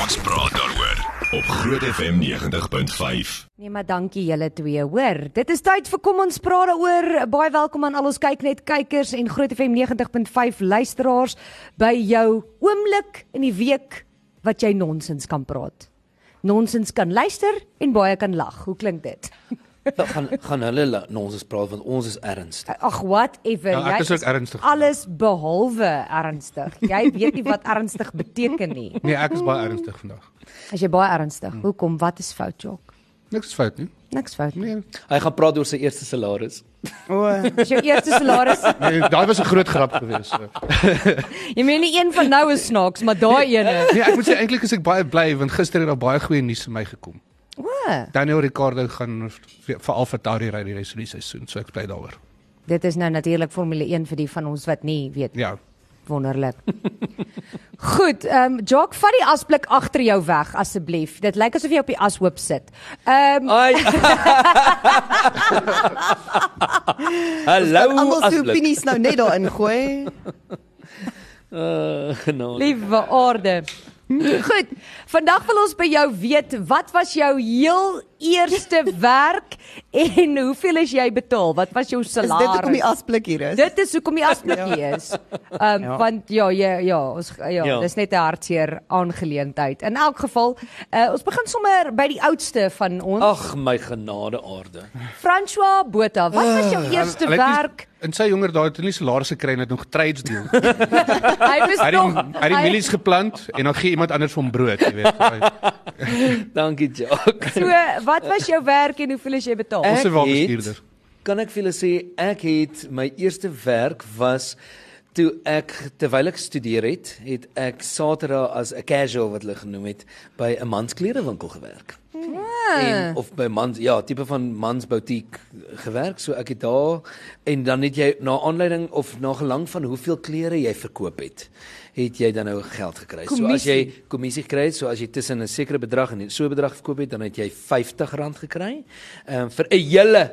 Ons praat daaroor op Groot FM 90.5. Nee, maar dankie julle twee. Hoor, dit is tyd vir kom ons praat daaroor. Baie welkom aan al ons kyk net kykers en Groot FM 90.5 luisteraars by jou oomblik in die week wat jy nonsens kan praat. Nonsens kan luister en baie kan lag. Hoe klink dit? Wel, Nou, gaan gaan hulle la- na ons praat want ons is ernstig. Ag, whatever. Ja, ek Jy is ook ernstig. Alles behalwe ernstig. Jy weet nie wat ernstig beteken nie. Nee, ek is baie ernstig vandag. As jy baie ernstig, hoekom? Wat is fout, Jock? Niks is fout nie. Niks fout nie. Nee. Hy gaan praat oor sy eerste salaris. Dis jou eerste salaris. nee daai was 'n groot grap geweest. Jy meen nie een van nou is snaaks, maar daai ene. Nee, ek moet sê eintlik is ek baie bly want gister het daar baie goeie nuus vir my gekom. O, Daniel Ricardo gaan vir vir Alfa Tauri ry die res van die seisoen, so ek bly daaroor. dit is nou natuurlik Formule 1 vir die van ons wat nie weet Ja. wonderlik. Goed, ehm um, Jock, vat die asblik agter jou weg asseblief. Dit lyk asof jy op die ashoop sit. Ehm Oh. um, Ai. Kan Hallo almal se asblik. opinies nou net daarin gooi. Uh, nou. liewe aarde. Goed, vandag wil ons by jou weet wat was jou heel eerste werk en hoeveel is jy betaal? Wat was jou Is salaris? dit hoekom die asblik hier is? Dit is hoekom die asblik hier is. Ehm um, ja. want ja ja ja ons ja, ja. Ja. dis net 'n hartseer aangeleentheid. In elk geval, uh, ons begin sommer by die oudste van ons, oh. Ag my genade aarde. François Botha. Wat was jou eerste Hy het nie- werk? En sy jonger daai het nie salaris gekry en het nog trades deel. Hy was Hy het nog die- hy het die mielies geplant en dan gee iemand anders hom brood, jy weet. Dankie Jock. So, wat was jou werk en hoeveel is jy betaal? Eh? Ons is wel het- bestuurder. Kan ek vir julle sê ek het my eerste werk was toe ek terwyl ek studeer het, het ek Saterdag as 'n casual wat hulle genoem het by 'n manskledewinkel gewerk. Ah. En of by mans ja, tipe van mans butiek gewerk. So ek het daar en dan het jy na aanleiding of na gelang van hoeveel klere jy verkoop het, het jy dan nou geld gekry. So as jy kommissie gekry het, so as jy tussen 'n sekere bedrag en so 'n bedrag verkoop het, dan het jy R50 gekry. Ehm vir 'n hele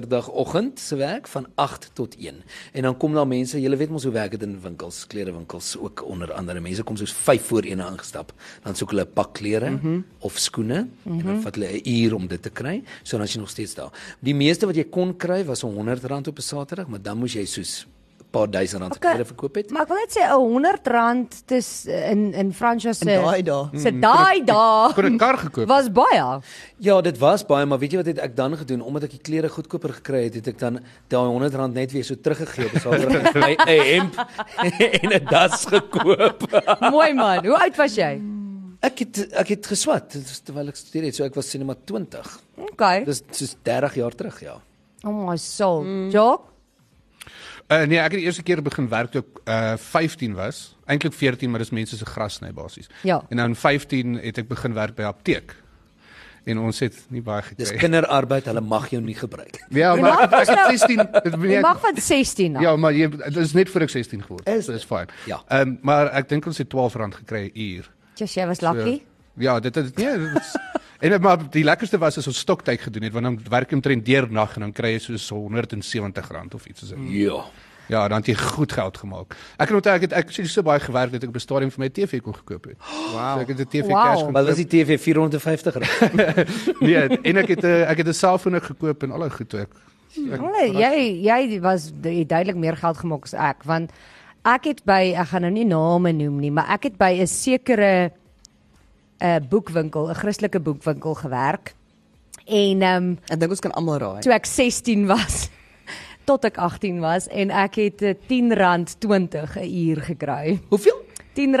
Saterdagoggend se werk van 8 tot 1. En dan kom daar mense, jy weet mos hoe werk dit in winkels, klerewinkels ook onder andere. Mense kom soos 5 voor 1 aangestap. Dan soek hulle 'n pak klere mm -hmm. of skoene mm -hmm. en dan vat hulle 'n uur om dit te kry. So dan is jy nog steeds daar. Die meeste wat jy kon kry was R100 op 'n Saterdag, maar dan moes jy soos 'n paar duisend rand se Oké, klere verkoop het. Maar ek wil net sê 'n 100 rand tis in in François se In daai dae. Se daai Kon dae 'n kar gekoop. was baie. Ja, dit was baie, maar weet jy wat het ek dan gedoen? Omdat ek die klere goedkoper gekry het, het ek dan daai R100 net weer so teruggegee op Saterdag vir my 'n hemp en 'n das gekoop. Mooi man. Hoe oud was jy? Ek het ek het geswat dit was terwyl ek studeer het, so ek was sinema 20. Okay. Dis soos 30 jaar terug, ja. Oh my soul. Mm. Jock, Uh, nee, ek het die eerste keer begin werk toe ek uh 15 was. Eintlik 14, maar dis mense se gras sny basies. Ja. En dan 15 het ek begin werk by 'n apteek. En ons het nie baie Dis gekry. kinderarbeid, hulle mag jou nie gebruik. Ja, Jy maar mag ek pas was nou- 16. Dit jy nee, mag nou? van 16 af. Ja, maar jy dit is net voor ek 16 geword het. Is So dis fyn. Ja. Ehm um, maar ek dink ons het R12 gekry 'n uur. Just jy was lucky. Ja, dit het nee, dit is, en dit- maar die lekkerste was as ons stoktyd gedoen het want dan werk jy omtrent deernag en dan kry jy soos R170 of iets soos dit. Ja. Ja, dan het jy goed geld gemaak. Ek kan onthou ek het ek het so baie gewerk dat ek op 'n stadium vir my TV kon gekoop het. Wow. So ek het 'n TV Wow. cash Maar gekoop. was die TV R450? Nee, en ek het 'n ek het 'n selfoon ook gekoop en al daai goed toe ek. Hulle jy jy was jy het duidelik meer geld gemaak as ek want ek het by ek gaan nou nie name noem nie, maar ek het by 'n sekere 'n boekwinkel, 'n Christelike boekwinkel gewerk. En ehm um, Ek dink ons kan almal raai. toe ek 16 was tot ek 18 was en ek het eh, R10.20 'n uur gekry. Hoeveel?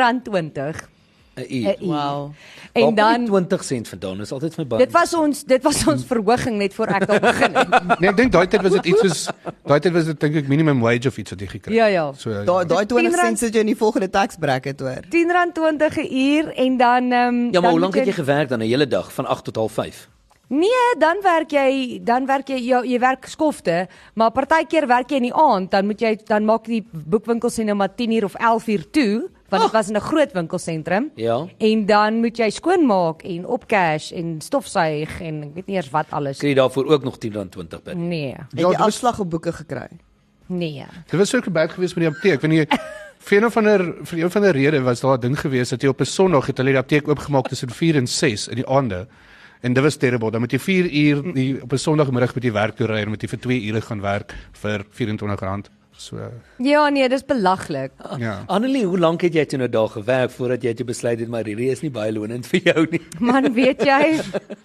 R10.20 'n 'n uur. Uur. Wow. Eh, En Waar dan kom die 20 sent vandaan is altyd vir my baie. dit was ons dit was ons verhoging net voor ek daar begin het. Nee, ek dink daai tyd was dit iets soos daai tyd was dit dink ek minimum wage of iets wat jy gekry het. Ja, ja. So ja. Daai daai 20 rand- sent sit jy in die volgende tax bracket hoor. R10.20 'n uur en dan ehm Ja, maar dan hoe moet lank het jy gewerk dan 'n hele dag van 8 tot 05? Nee, dan werk jy, dan werk jy ja, jy werk skofte, maar partykeer werk jy in die aand, dan moet jy dan maak die boekwinkels en nou maar 10uur of 11uur toe, want dit was in 'n groot winkelsentrum. Ja. En dan moet jy skoonmaak en opcash en stofsuig en ek weet nie eers wat alles. Kry jy daarvoor ook nog R10.20 per. Nee. Het dit jy was- afslag op boeke gekry? Nee. Dit was so gebeur gewees met die apteek wanneer jy vir een of ander vir een van die redes was daar 'n ding gewees dat jy op 'n Sondag het hulle die apteek oopgemaak tussen 4 en 6 in die aande. En dit was terrible. Dan moet jy 4 uur die, op 'n Sondagmiddag moet jy werk toe ry en moet jy vir 2 ure gaan werk vir R24. So Ja nee, dis belaglik. ja. Annelie, hoe lank het jy toe nou daar gewerk voordat jy toe besluit het maar hierdie is nie baie lonend vir jou nie? Man, weet jy,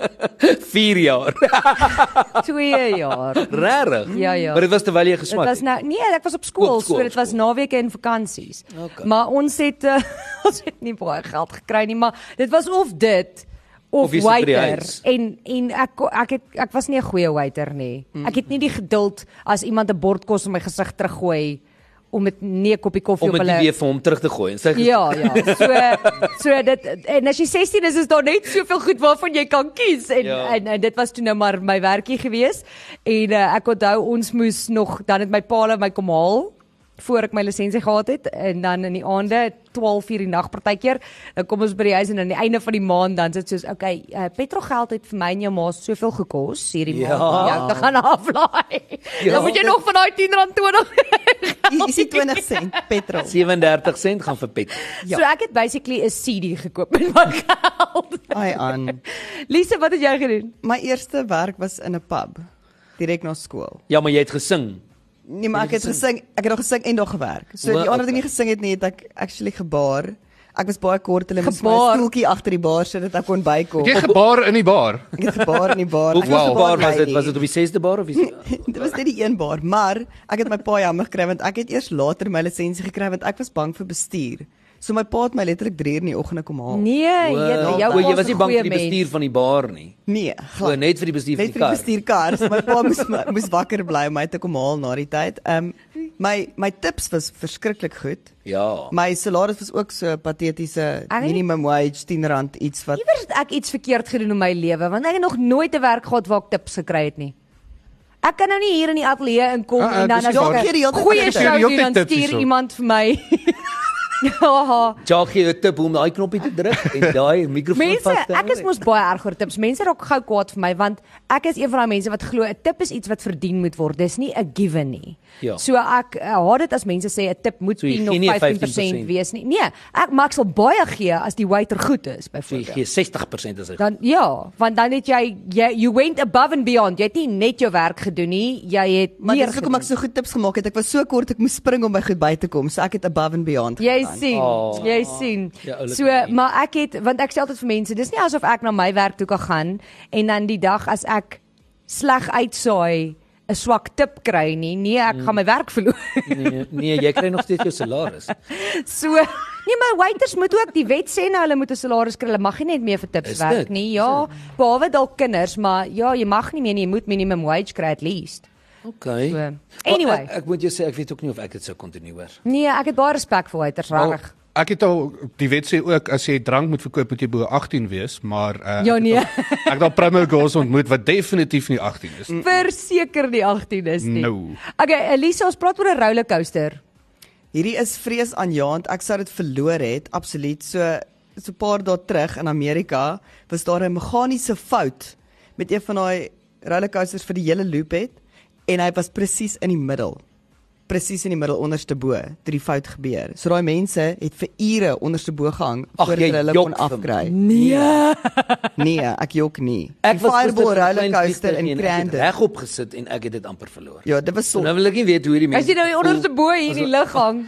4 jaar. 2 jaar. Regtig? Ja, ja. Maar dit was terwyl jy geswat Dit was het. nou nee, ek was op skool, Op skool, so dit was skool. naweke en vakansies. Okay. Maar ons het uh, ons het nie baie geld gekry nie, maar dit was of dit Of of, jy of sit by die waiter huis. en en ek ko- ek het ek was nie 'n goeie waiter nie. Hmm. Ek het nie die geduld as iemand 'n bord kos in my gesig teruggooi om met nie 'n koppie koffie op om dit hulle nie weer vir hom terug te gooi en sê Ja, ja. So so dit en as jy 16 is is daar net soveel goed waarvan jy kan kies en, ja. Ja. en en dit was toe nou maar my werkie gewees en uh, ek onthou ons moes nog dan het my paal my kom haal voor ek my lisensie gehad het en dan in die aande 12 uur die nag partykeer dan kom ons by die huis en aan die einde van die maand dan sit soos okay uh, petrolgeld het vir my en jou ma soveel gekos hierdie Ja. maand om jou te gaan aflaai. Ja. Dan moet jy nog van daai 10 rand 20 Hier is die 20 sent petrol. Ja. 37 sent gaan vir pet. Ja. So ek het basically 'n CD gekoop met my geld. Ai aan. Lise, wat het jy gedoen? My eerste werk was in 'n pub direk na skool. Ja, maar jy het gesing. Nee, maar ek het gesing, ek het nog gesing en nog gewerk. So Wel, die ander okay. ding nie gesing het nie, het ek actually gebaar. Ek was baie kort, hulle moes my Gebaar? stoeltjie agter die bar sit dat ek kon bykom. Jy gebaar in die bar. Ek het gebaar in die bar. Hoe Ek was wow. een bar was dit? lady. Was dit op die 6de bar of Nee, die dit was net die een bar, maar ek het my pa jammer gekry want ek het eers later my lisensie gekry want ek was bang vir bestuur. So my pa het my letterlik 3 uur in die oggend kom haal. Nee, jy jou O, Eh, ja, jy pa's was nie een bang goeie vir die mens. bestuur van die bar nie. Nee, O, glad. net vir die bestuur van Net die vir die kar. bestuurkar. So my pa moes my- moes wakker bly om my te kom haal na die tyd. Ehm um, my my tips was verskriklik goed. Ja. My salaris was ook so patetiese Ai. minimum wage R10 iets wat Iewers het ek iets verkeerd gedoen in my lewe want ek het nog nooit 'n werk gehad waar ek tips gekry het nie. Ek kan nou nie hier in die ateljee inkom Ah, ah, en dan dis as waar. ek 'n Jy gee die hele tyd goeie tips. Jy gee show die hele doen tyd dan tips stuur hierso. iemand vir my. Ja, Ja, gee jou 'n tip hoe om daai knoppie te druk en daai mikrofoon vas mense, te hou. ek is mos baie erg oor tips. Mense raak gou kwaad vir my want ek is een van daai mense wat glo 'n tip is iets wat verdien moet word. Dis nie 'n given nie. Ja. So ek eh, haat dit as mense sê 'n tip moet so So 10 jy gee of nie 'n 15% 15% wees nie. Nee, ek maak sal baie gee as die waiter goed is So jy byvoorbeeld. gee 60% as hy. Dan ja, want dan het jy, jy you went above and beyond. Jy het nie net jou werk gedoen nie, jy het Maar meer dis hoekom ek so goed tips gemaak het. Ek was so kort ek moes spring om by goed by te kom. So ek het above and beyond Jy gegaan. sien, oh. Oh. jy sien. Ja, oulik so, manier. maar ek het want ek sê altyd vir mense, dis nie asof ek na my werk toe kan gaan en dan die dag as ek sleg uitsaai 'n swak tip kry nie. Nee, ek Hmm. mm. gaan my werk verloor. Nee, nee, jy kry nog steeds jou salaris. so Nee, maar waiters moet ook die wet sê nou hulle moet 'n salaris kry. Hulle mag nie net meer vir tips Is werk dit? nie. Ja, behalwe dalk kinders, maar ja, jy mag nie meer nie. Jy moet minimum wage kry at least. Okay. So, Wel, anyway. ek, ek moet jou sê ek weet ook nie of ek dit sou kon doen nie hoor. Nee, ek het baie respek vir waiters, Oh. regtig. Al, ek het al die wet sê ook as jy drank moet verkoop moet jy bo 18 wees, maar uh, Ja, ek het nee. al- Ek het al promo girls ontmoet wat definitief nie 18 is. Mm. nie. Verseker die 18 is nie. Nou. No. Okay, Elisa, ons praat oor 'n rollercoaster. Hierdie is vrees aanjaend. Ek sou dit verloor het, absoluut. So so 'n paar dae terug in Amerika was daar 'n meganiese fout met een van daai rollercoasters vir die hele loop het en hy was presies in die middel. Presies in die middel onderste bo toe die fout gebeur. So daai mense het vir ure onderste bo gehang Ag, voordat jy hulle jok kon vir my. afkry. Nee. Nee, ek jok nie. Ek die was Fireball rollercoaster in Crandon. regop gesit en ek het dit amper verloor. Ja, dit was So so. nou wil ek nie weet hoe hierdie As mense jy nou die onderste bo hier in die lug hang.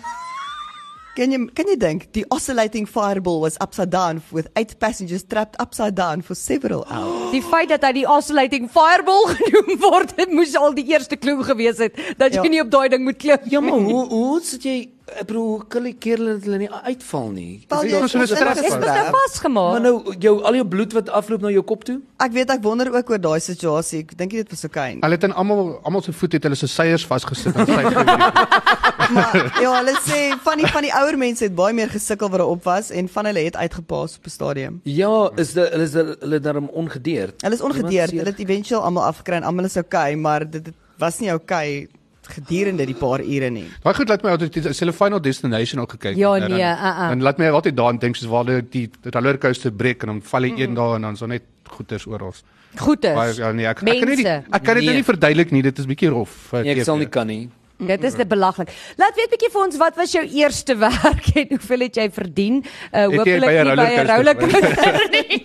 Can you can you think the oscillating fireball was upside down with eight passengers trapped upside down for several Ah, hours? Die feit dat hy die oscillating fireball genoem word, dit moes al die eerste klou gewees het dat jy Ja. nie op daai ding moet klim. Ja, maar hoe hoe sit jy ek bedoel hoe kan die kerel dat hulle nie uitval nie? Wel, Dis jy ons is is ingestrap. Is dit nou Maar vasgemaak? nou jou al jou bloed wat afloop na jou kop toe? Ek weet ek wonder ook oor daai situasie. Ek dink nie dit was okay nie. Hulle het aan almal almal se voet het hulle se seiers vasgesit en sy geweet. Maar ja, hulle sê van die van die ouer mense het baie meer gesukkel wat daarop was en van hulle het uitgepaas op die stadium. Ja, is dit hulle is daar- hulle daarom ongedeerd. Hulle is ongedeerd. Hulle het eventueel almal afgekry en almal is okay, maar dit, dit was nie okay gedurende die paar ure nie. Daai goed laat my altyd as hulle Final Destination ook gekyk Ja, het, nee, dan, uh-uh. dan laat my altyd daaraan dink soos waar die, die rollercoaster breek en dan val hy een daar en dan so net goeters oral. Goed Baie is. ja nee, ek, ek kan nie die- Mense. ek kan dit nou Nee. nie verduidelik nie, dit is bietjie rof. eh, Nee, ek sal nie kan nie. Mm-hmm. Dit is te belaglik. Laat weet bietjie vir ons wat was jou eerste werk en hoeveel het jy verdien? Uh Het jy hopelik by 'n nie by 'n rollercoaster rollercoaster nie.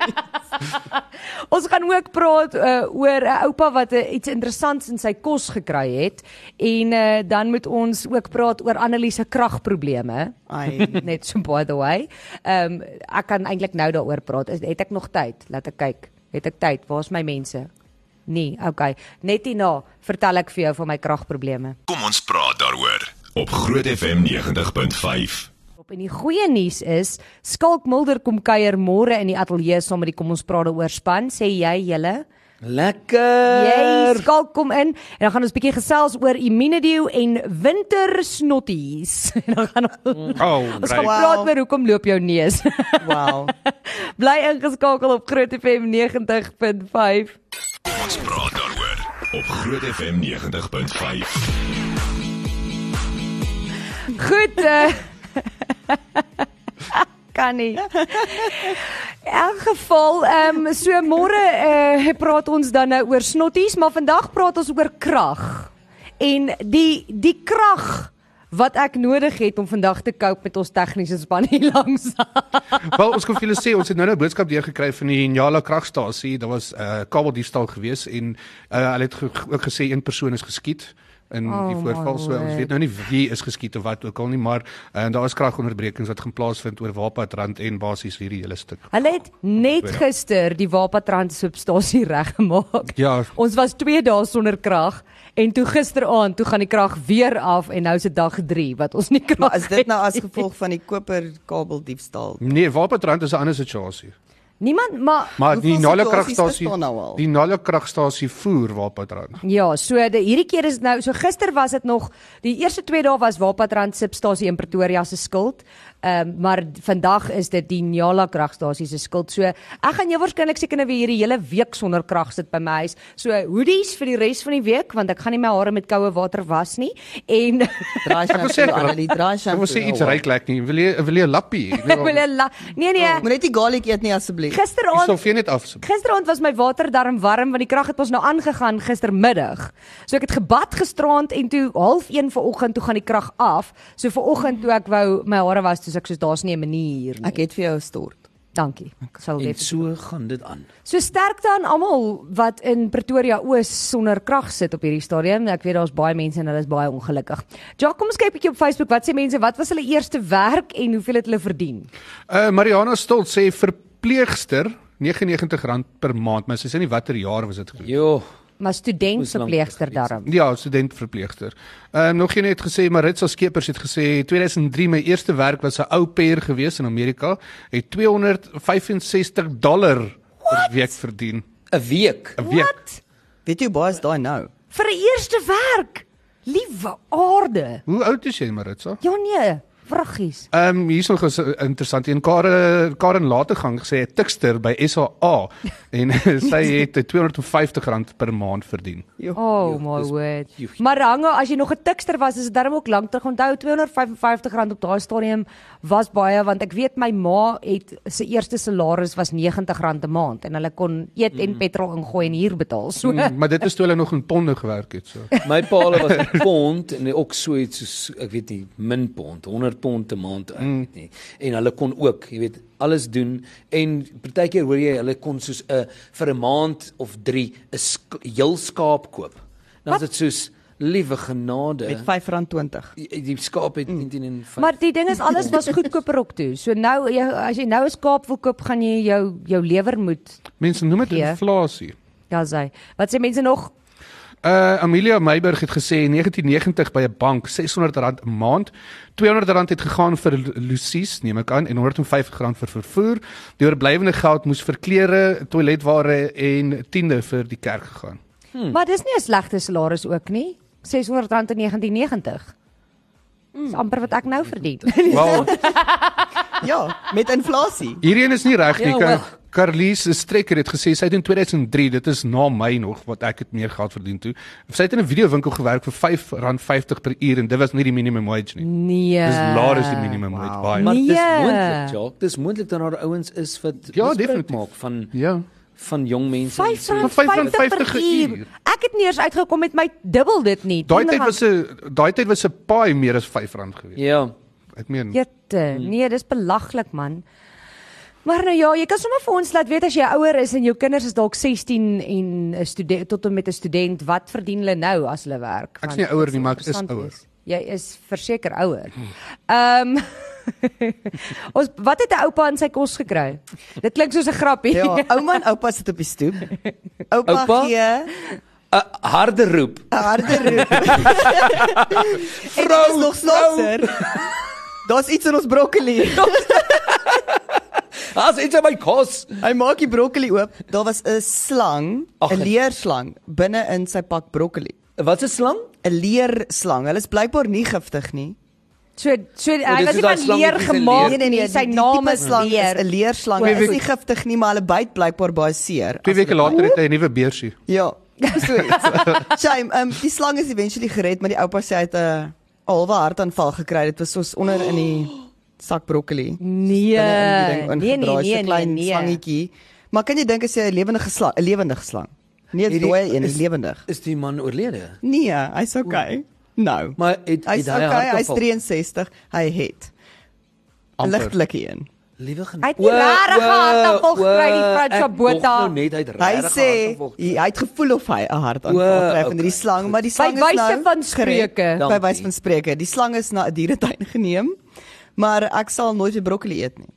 ons gaan ook praat uh oor 'n oupa wat uh, iets interessants in sy kos gekry het en uh dan moet ons ook praat oor Anneliese kragprobleme. Ai. Net so by the way. Ehm um, ek kan eintlik nou daaroor praat. Is- Het ek nog tyd? Laat ek kyk. Het ek tyd? Waar's my mense? Nee, okay. Net hierna vertel ek vir jou van my kragprobleme. Kom ons praat daaroor op Groot FM 90.5. Op en die goeie nuus is, Skalk Mulder kom kuier môre in die ateljee saam met die Kom ons praat daaroor span, sê jy julle. Jy Lekker. Skalk kom in en dan gaan ons bietjie gesels oor immunedio en wintersnotties. En dan gaan ons Oh, Ons gaan right. praat oor hoekom loop jou neus. Wow. Bly ingeskakel op Groot FM 90.5. Kom ons praat daaroor op Groot FM 90.5. Goed. eh, kan nie. In elk geval, ehm so môre eh praat ons dan nou oor snotties, maar vandag praat ons oor krag. En die die krag wat ek nodig het om vandag te cope met ons tegniese span hier langs. Wel, ons kon vir julle sê ons het nou nou 'n boodskap deurgekry van die Njala kragstasie. Daar was 'n uh, kabeldiefstal gewees en uh, hulle het ge ook gesê een persoon is geskiet in Oh, oh, die voorval. my So ons word. weet nou nie wie is geskiet of wat ook al nie, maar uh, daar is kragonderbrekings wat gaan plaasvind oor Wapatrand en basies hierdie hele stuk. Hulle het Ja. net gister die Wapatrand substasie reggemaak. Ja. Ons was 2 dae sonder krag en toe gisteraand toe gaan die krag weer af en nou is dit dag 3 wat ons nie krag Maar is dit nou het as gevolg van die koperkabeldiefstal? Nee, Wapatrand is 'n ander situasie. Niemand maar Maar die Hoeveel Njala situasies kragstasie, bestaan nou al? die Njala kragstasie voer Wapatrand. ja, so die, hierdie keer is dit nou so gister was dit nog die eerste 2 dae was Wapatrand substasie in Pretoria se skuld. Ehm um, maar d- vandag is dit die Nyala kragstasie se skuld. So ek gaan jou waarskynlik seker nou weer hierdie hele week sonder krag sit by my huis. So hoodies vir die res van die week want ek gaan nie my hare met koue water was nie en Draai Ek wil sê ek wil- draai Ek wil sê iets nou ryk lek nie. Wil jy wil jy 'n lappie? Ek ek wil 'n la- nee nee. Moet net nie garlic eet nie asseblief. Ek Gisteraand sal vir net af. Gisteraand was my water darm warm want die krag het ons nou aangegaan gistermiddag. So ek het gebad gisteraand en toe half 1 vanoggend toe gaan die krag af. So vanoggend toe ek wou my hare was, toe sê ek soos daar's nie 'n manier nie. Ek het vir jou 'n stort. Dankie. Ek sal En dit. so gaan dit aan. So sterkte aan almal wat in Pretoria Oos sonder krag sit op hierdie stadium. Ek weet daar's baie mense en hulle is baie ongelukkig. Ja, kom ons kyk bietjie op Facebook. Wat sê mense? Wat was hulle eerste werk en hoeveel het hulle verdien? Uh Mariana Stolt sê verpleegster R99 per maand, maar sy sê nie watter jaar was dit gedoen. Jo, Maar student Moes lank verpleegster terug iets. daarom. Ja, student verpleegster. Ehm nog geen het gesê Maritsa Skeepers het gesê 2003 my eerste werk was 'n ou pair gewees in Amerika, het 265 dollar per week verdien. 'n week. 'n Week. Wat? Weet jy hoe baie is daai nou? vir 'n eerste werk. Liewe aarde. Hoe oud is jy Maritsa? Ja nee, vruggies. Ehm um, hier's nog 'n s- interessant een. Karen Karen Lategang gesê 'n tikster by SAA en sy het R250 per maand verdien. Jo. Oh joh, my dis- word. joh. Maar hango, as jy nog 'n tikster was, is dit darm ook lank terug. Onthou R255 op daai stadium was baie want ek weet my ma het sy eerste salaris was R90 'n maand en hulle kon eet en petrol ingooi en huur betaal. So Mm, maar dit is toe hulle nog in ponde gewerk het so. My pa hulle was 'n pond en ook so iets soos ek weet nie min pond, 100 pond 'n maand, ek Mm. weet nie. En hulle kon ook, jy weet, alles doen en partykeer hoor jy hulle kon soos 'n vir 'n maand of 3 'n sk heel skaap koop. Dan is dit soos liewe Met genade. Ja. R5.20. Die, die skaap het Mm. 1905. Maar die ding is alles was goedkoper op toe. So nou jy, as jy nou 'n skaap wil koop, gaan jy jou jou lewer moet. Mense noem dit Gee. inflasie. Ja, sê. Wat sê mense nog? Uh Amelia Meiburg het gesê in 1990 by 'n bank R600 'n maand, R200 het gegaan vir lu- lucies, neem ek aan, en R150 vir vervoer. Die oorblywende geld moes vir klere, toiletware en tiende vir die kerk gegaan. Hmm. Maar dis nie 'n slegte salaris ook nie. R600 in 1990. Hm. Dis amper wat ek nou verdien. Wel, Ja, met inflasie. hierdie een is nie reg nie. Ja, Ja, wel. Carlies Strekker het gesê sy het in 2003, dit is na my nog wat ek het meer geld verdien toe. Sy het in 'n videowinkel gewerk vir R5.50 per uur en dit was nie die minimum wage nie. Nee. Dis laer as die minimum wage baie. Maar dis Nee. moontlik, Jacques. Dis moontlik dat daar ouens is wat Ja, misbruik definitief. maak van Ja. van jong mense. en so. Maar R5.50 R5.50 per per uur. Ek het nie eers uitgekom met my dubbel dit nie. Daai R10 tyd was 'n daai tyd was 'n paai meer as R5 gewees. Ja. Ek meen Jette, Mm. nee, dis belaglik man. Maar nou ja, jy kan sommer vir ons laat weet as jy ouer is en jou kinders is dalk 16 en 'n student tot en met 'n student, wat verdien hulle nou as hulle werk? Ek Want is nie ouer dit nie, maar ek is interessant ouer. Hmm. wees. Jy is verseker ouer. Ehm Ons wat het 'n oupa in sy kos gekry? Dit klink soos 'n grappie. Ja, ouma en oupa sit op die stoep. Oupa, Oupa? oupa? gee 'n Eh, Harde roep. 'n harde roep. En dit is nog snaakser. Daar's iets in ons broccoli. As iets aan my kos. Hy maak die broccoli oop. Daar was 'n slang, Ag, 'n en- leerslang binne in sy pak broccoli. Wat 'n slang? 'n Leerslang. Hulle is blykbaar nie giftig nie. So so Oh, hy dis was is nie daai van slang leer wat jy gemaak leer. nie. nee, Sy Nee, die naam tipe is slang leer. is 'n leerslang. Twee Hy is weke- nie giftig nie, maar hulle byt blykbaar baie seer. twee as weke later het hy 'n nuwe beursie. Ja, so iets. Shame, um, die slang is eventually gered, maar die oupa sê hy het 'n halwe hartaanval gekry. Dit was soos onder in die sak broccoli. Nee. Binne in die Nee, nee, ding ingedraai, so nee, nee, klein nee. slangetjie. Maar kan jy dink as jy 'n lewende slang, 'n lewendige slang? Nee, dit Hierdie- dooi een, is- is lewendig. Is die man oorlede? Nee, hy's okay. Nou. Maar het, het Hy's hy okay, hy's hartaanval? 63. Hy het 'n Amper. ligtelike een. Liewe genade. Hy het nie rare hartaanval gekry, die Frans Sabota. Nou net hy het rare Hy sê hartaanval gekry. hy hy het gevoel of hy 'n O, hartaanval kry okay, van hierdie slang, maar die slang is wyse nou van gered. Spreuke. By Dankie. wyse van Spreuke. Die slang is na 'n dieretuin geneem, maar ek sal nooit weer broccoli eet nie.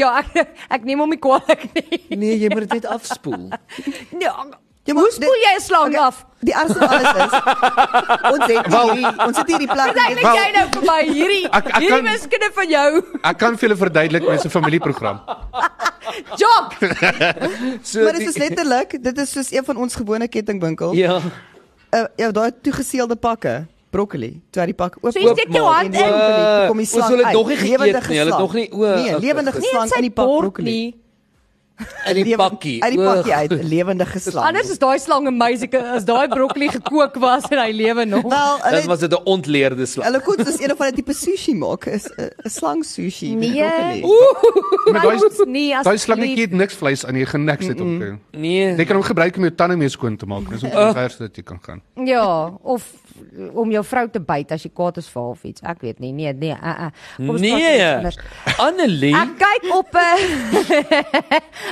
Ja, ek ek neem hom nie kwaad nie. Nee, jy moet dit net afspoel. Nee. Ja, Hoe spoel jy 'n slang Okay, af? Die ergste van alles is ons het hier, ons het hierdie plek. Verduidelik Wel- jy nou vir my hierdie Ek- ek hierdie kan- miskinde van jou. Ek kan vir julle verduidelik met 'n familieprogram. Jog. So Maar dit is die- letterlik, dit is soos een van ons gewone kettingwinkel. Ja, Ja. uh, ja daai toegeseelde pakke broccoli. Toe hy die pak oop. So jy steek jou Oopmaak. hand in. En die- Toe kom die O, slang so hulle het uit. nog nie geëet Lewendige nie, hulle het nog slang. nie- o, Nee, okay, lewende goed. Nee, slang sy in die pak bord broccoli. nie. In die Lewe- pakkie. Nee, Uit die O, pakkie uit, 'n lewendige slang. Anders is daai slang amazing as daai broccoli gekook was en hy lewe nog. wel, Dan was hulle dit 'n ontleerde slag. hulle kon dus een of ander tipe sushi maak, is 'n 'n slang sushi met Nee. broccoli. Maar daai moet nie, daai asseblief. slangetjie het niks vleis aan nie, genik sit op jou. Nee. Jy kan hom gebruik om jou tande mee skoon te maak. Dis omtrent vers dat jy kan gaan. Ja, of om jou vrou te byt as jy kwaad is vir haar of iets. Ek weet nie. Nee, nee. Uh, uh. Kom ons praat oor iets Nee. anders. Annelie, Ek kyk op 'n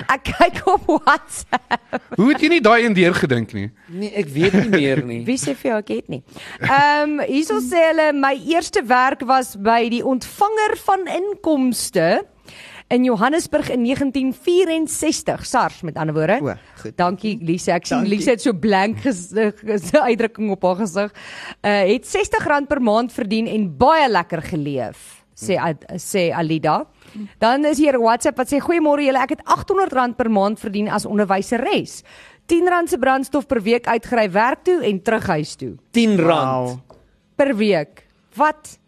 Ek kyk op WhatsApp. Hoe het jy nie daai een deur gedink nie? nee, ek weet nie meer nie. Wie sê vir jou ek het nie? Ehm um, hierso sê hulle my eerste werk was by die ontvanger van inkomste in Johannesburg in 1964 SARS met ander woorde. O, goed. Dankie Lise. Ek sien Dankie. Lise het so blank ges- ges- uitdrukking op haar gesig. Uh het R60 per maand verdien en baie lekker geleef, sê Ad- sê Alida. Dan is hier 'n WhatsApp wat sê goeiemôre julle, ek het R800 per maand verdien as onderwyseres. R10 se brandstof per week uitgery werk toe en terug huis toe 10 Wow. rand. per week. Wat?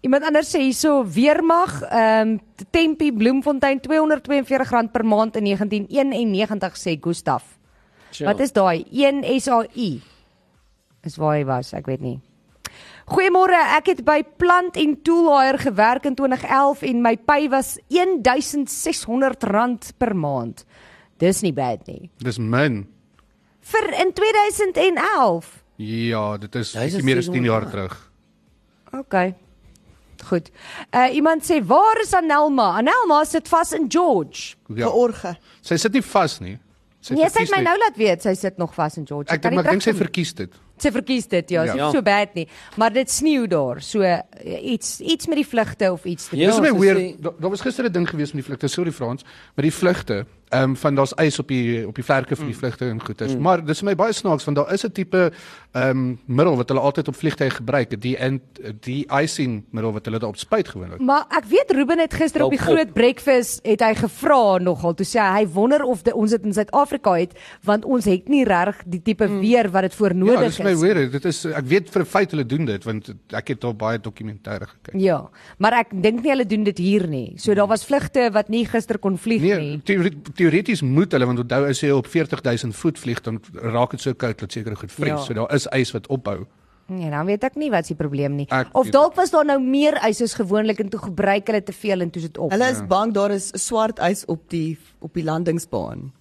Iemand anders sê hierso weermag, ehm um, Tempi Bloemfontein R242 per maand in 1991 sê Gustaf. Tja. Wat is daai? 1 SAU. Is waar hy was, ek weet nie. Goeiemôre, ek het by Plant en Toolhaier gewerk in 2011 en my pay was R1600 per maand. Dis nie bad nie. Dis min. Vir in 2011. Ja, dit is Duisend bietjie meer as 10 jaar seshonderd terug. OK. Goed. Uh iemand sê waar is Anelma? Anelma sit vas in George. Ja. George. Sy sit nie vas nie. Sy Nee, sy het verkies my net- nou laat weet sy sit nog vas in George. Ek dink maar ek dink sy verkies dit. sy verkies dit ja, ja. Ja. so bad nie, maar dit sneeu daar. So uh, iets iets met die vlugte of iets. te doen. Ja, Dis my sy weer sê- daar was gister 'n ding gewees met die vlugte, sorry Frans, met die vlugte. Ehm um, van daar's ys op die op die vlerke van die vlugte en goeters. Mm. Maar dis vir my baie snaaks want daar is 'n tipe ehm um, middel wat hulle altyd op vliegtye gebruik, die en die icing middel wat hulle daarop spuit gewoonlik. Ja, Maar ek weet Ruben het gister op die Dalk op. groot breakfast het hy gevra nogal toe sê hy hy wonder of de, ons dit in Suid-Afrika het want ons het nie reg die tipe weer wat dit voor Mm. Ja, nodig dis is. my weer. Dit is ek weet vir 'n feit hulle doen dit want ek het daar baie dokumentêre gekyk. Ja, maar ek dink nie hulle doen dit hier nie. So daar was vlugte wat nie gister kon vlieg nie. Nee, theore- teoreties moet hulle want onthou as jy op 40000 voet vlieg dan raak dit so koud dat seker goed vries. Ja. Ja. So daar is ys wat opbou. Nee, dan weet ek nie wat se probleem nie. Ek- of dalk was daar nou meer ys as gewoonlik en toe gebruik hulle te veel en toe is dit op. Hulle is Ja. bang daar is swart ys op die op die landingsbaan.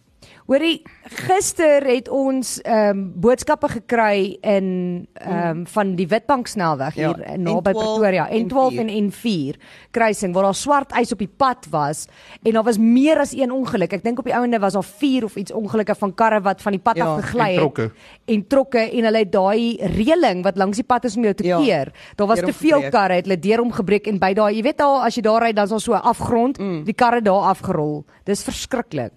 Hoorie, gister het ons ehm boodskappe gekry in ehm van die Witbank snelweg Ja, hier eh, naby N12 Pretoria, en N12 en N4 kruising waar daar swart ys op die pad was en daar was meer as een ongeluk. Ek dink op die ouende was daar 4 of iets ongelukke van karre wat van die pad Ja, af gegly en het. trokke. En trokke en hulle het daai reëling wat langs die pad is om jou te Ja, keer. Daar was deur te hom veel gebreek. karre, het hulle deur hom gebreek en by daai, jy weet al as jy daar ry dan is daar so 'n afgrond, Mm. die karre daar afgerol. Dis verskriklik.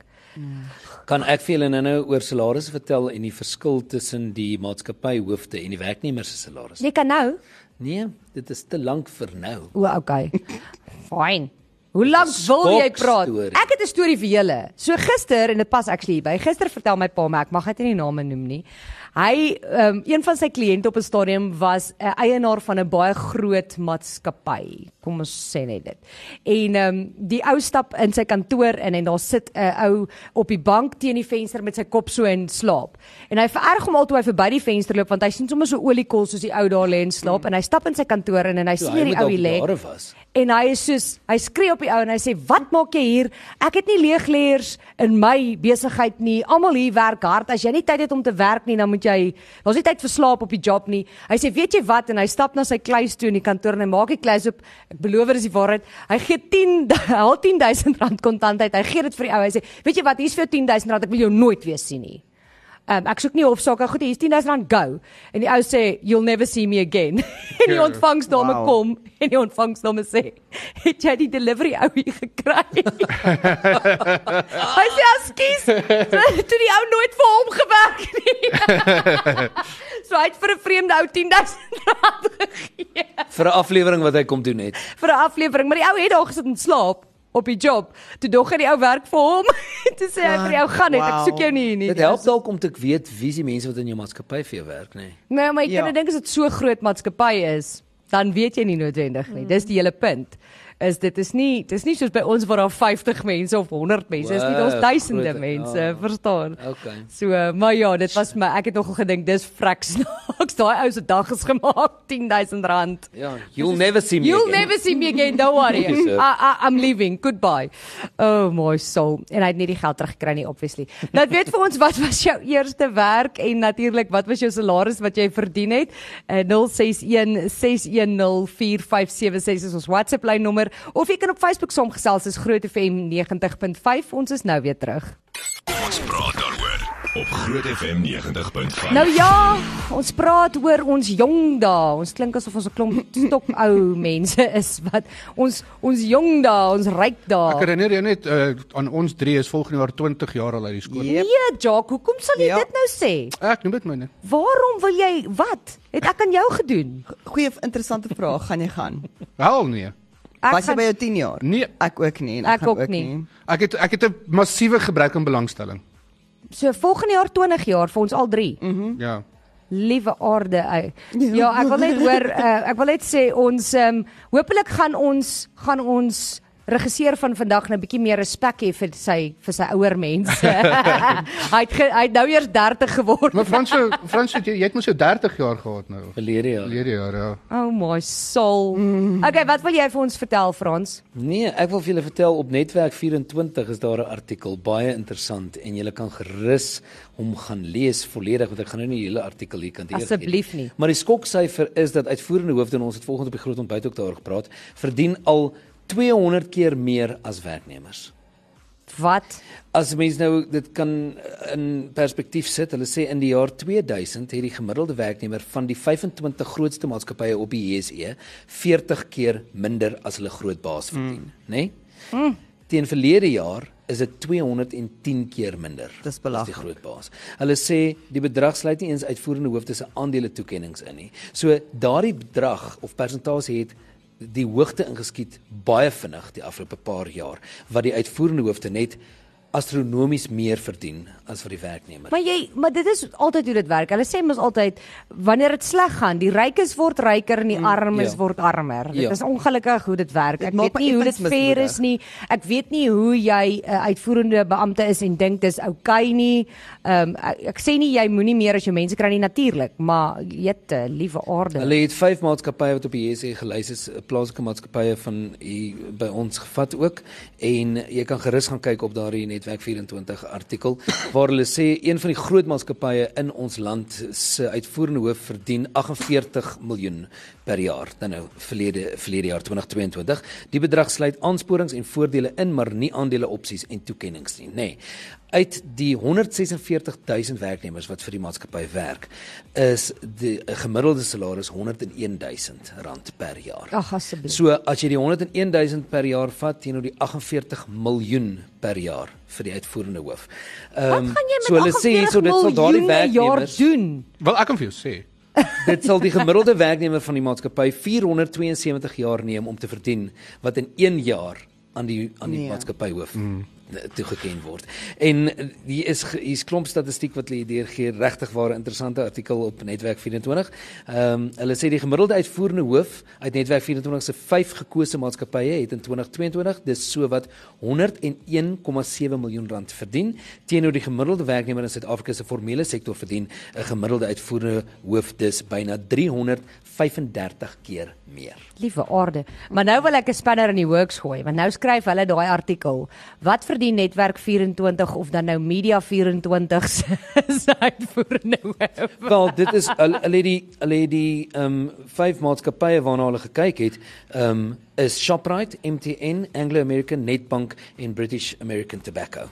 Kan ek vir julle nou-nou oor salarisse vertel en die verskil tussen die maatskappyhoofde en die werknemers se salarisse? Jy kan nou Nee, dit is te lank vir nou. O, okay. Fyn. Hoe lank Dis 'n wil jy praat? skokstorie. Ek het 'n storie vir julle. So gister en dit pas actually by. Gister vertel my pa my, ek mag dit nie name noem nie. Hy um, een van sy kliënte op 'n stadium was 'n eienaar van 'n baie groot maatskappy. Kom ons sê net dit. En ehm um, die ou stap in sy kantoor in en daar sit 'n ou op die bank teen die venster met sy kop so en slaap. En hy vererg hom al toe hy verby die venster loop want hy sien sommer so oliekol soos die ou daar lê en slaap en hy stap in sy kantoor in en hy Toe sien hierdie moet al ou hier lê. jare was. En hy is soos hy skree op die ou en hy sê wat maak jy hier? Ek het nie leegleers in my besigheid nie. Almal hier werk hard. As jy nie tyd het om te werk nie, dan moet jy daar's nie tyd vir slaap op die job nie. Hy sê weet jy wat en hy stap na sy kluis toe in die kantoor en hy maak die kluis oop. Ek beloof dis die waarheid. Hy gee 10 al 10000 rand kontant uit. Hy gee dit vir die ou. Hy sê weet jy wat, hier's vir jou 10000 rand. Ek wil jou nooit weer sien nie. Um, ek soek nie hofsaake goed hier's 10000 rand go en die ou sê you'll never see me again. en die Ja. ontvangsdame wow. Wow. kom en die ontvangsdame sê het jy die delivery ou hier gekry? Hy sê ekskuus, toe die ou nooit vir hom gewerk nie. so hy het vir 'n vreemde ou 10000 rand gegee Vir 'n aflewering wat hy kom doen het. vir 'n aflewering, maar die ou het daar gesit en slaap op die job. Toe dog hy die ou werk vir hom. toe sê hy vir die ou gaan net, ek soek jou nie hier nie. Dit help dalk om te weet wie is die mense wat in jou maatskappy vir jou werk, nê. Nee. Nee, maar jy Ja. kan nou dink as dit so groot maatskappy is, dan weet jy nie noodwendig nie. Dis die hele punt. Is dit is nie dis nie soos by ons waar daar 50 mense of 100 mense is nie, daar's Wow, duisende groot, mense, ja. verstaan? Okay. So, eh, maar ja, dit was my ek het nogal gedink dis vrek snaaks. Daai ou se dag is gemaak 10000 rand. Ja, you'll never see me. You'll again. never see me again, don't worry. Yes, sir. I, I I'm leaving. Goodbye. Oh my soul. En hy het nie die geld teruggekry nie obviously. Nou weet vir ons wat was jou eerste werk en natuurlik wat was jou salaris wat jy verdien het? Uh, 061 6104576 is ons WhatsApp lyn nommer of jy kan op Facebook saamgesels is Groot FM 90.5. Ons is nou weer terug. Ons praat daaroor op Groot FM 90.5. Nou ja, ons praat oor ons jong dae. Ons klink asof ons 'n klomp stokou mense is wat ons ons jong dae, ons ryk Ek dae. herinner jou net uh, aan ons drie is volgende jaar 20 jaar al uit die skool. Yep. Nee, Jock, hoekom sal jy Ja. dit nou sê? Ek noem dit myne. Waarom wil jy wat? Het ek aan jou gedoen? Goeie interessante vraag, gaan jy gaan? Wel nee. Ek Was jy gaan- by jou 10 jaar? Nee. Ek ook nie. en Ek gaan ook nie. Ek het ek het 'n massiewe gebrek aan belangstelling. so volgende jaar 20 jaar vir ons al drie. Mhm. Mm. Ja. Liewe aarde ou. Ja, ek wil net hoor, uh, ek wil net sê ons ehm um, hopelik gaan ons gaan ons regisseur van vandag nou 'n bietjie meer respek hê vir sy vir sy ouer mense. hy het ge, hy het nou eers 30 geword. Maar Fransjo, Fransjo jy, jy het mos jou 30 jaar gehad nou. verlede jaar. Verlede jaar ja. Oh my soul. Mm. Okay, wat wil jy vir ons vertel Frans? Nee, ek wil vir julle vertel op Netwerk 24 is daar 'n artikel baie interessant en julle kan gerus hom gaan lees volledig want ek gaan nou nie die hele artikel hier kan deurgaan. Asseblief nie. Maar die skoksyfer is dat uitvoerende hoofde en ons het vanoggend op die groot ontbyt ook daaroor gepraat, verdien al 200 keer meer as werknemers. Wat? As mens nou dit kan in perspektief sit, hulle sê in die jaar 2000 het die gemiddelde werknemer van die 25 grootste maatskappye op die JSE 40 keer minder as hulle groot baas verdien, mm. nê? Nee? Mm. Teen verlede jaar is dit 210 keer minder. Dis as die belaglik. groot baas. Hulle sê die bedrag sluit nie eens uitvoerende hoofde se aandele toekenninge in nie. So daardie bedrag of persentasie het die hoogte ingeskiet baie vinnig die afgelope paar jaar wat die uitvoerende hoofde net astronomies meer verdien as vir die werknemer. Maar jy, maar dit is altyd hoe dit werk. Hulle sê mos altyd wanneer dit sleg gaan, die rykes word ryker en die armes Mm, ja. word armer. Dit Ja. is ongelukkig hoe dit werk. Dit Ek maak weet my nie hoe effens dit fair is nie. Ek weet nie hoe jy 'n uitvoerende beampte is en dink dis oukei nie. Ehm um, ek, ek sê nie jy moenie meer as jou mense kry nie natuurlik, maar jette, liewe aarde. Hulle het vyf maatskappye wat op die JSE gelys is, eh, plaaslike maatskappye van hier by ons gevat ook en jy kan gerus gaan kyk op daardie netwerk 24 artikel waar hulle sê een van die groot maatskappye in ons land se uitvoerende hoof verdien 48 miljoen per jaar dan nou verlede verlede jaar 2022. Die bedrag sluit aansporings en voordele in, maar nie aandele opsies en toekenninge nie, nê. Nee uit die 146000 werknemers wat vir die maatskappy werk is die 'n gemiddelde salaris 101000 rand per jaar. Ag asseblief. So as jy die 101000 per jaar vat teenoor die 48 miljoen per jaar vir die uitvoerende hoof. Ehm Wat gaan jy met so hulle sê hierso dit sal daardie werknemers doen? Wel ek kan vir jou sê, dit sal die gemiddelde werknemer van die maatskappy 472 jaar neem om te verdien wat in 1 jaar aan die aan die nee. Nee. maatskappy hoof mm. toegeken word. En eh, hier is ge- hier's klomp statistiek wat hulle hier gee, regtig waar 'n interessante artikel op Netwerk 24. Ehm um, hulle sê die gemiddelde uitvoerende hoof uit Netwerk 24 se vyf gekose maatskappye het in 2022 dis sowat 101,7 miljoen rand verdien teenoor die gemiddelde werknemer in Suid-Afrika se formele sektor verdien 'n gemiddelde uitvoerende hoof dis byna 335 keer meer. Liewe aarde. Maar nou wil ek 'n spanner in die works gooi, want nou skryf hulle daai artikel. Wat verdien netwerk 24 of dan nou media 24 se se uitvoerende hoof? Wel, dit is hulle hulle het die hulle het die ehm um, vyf maatskappye waarna hulle gekyk het, ehm um, is Shoprite, MTN, Anglo American, Nedbank en British American Tobacco.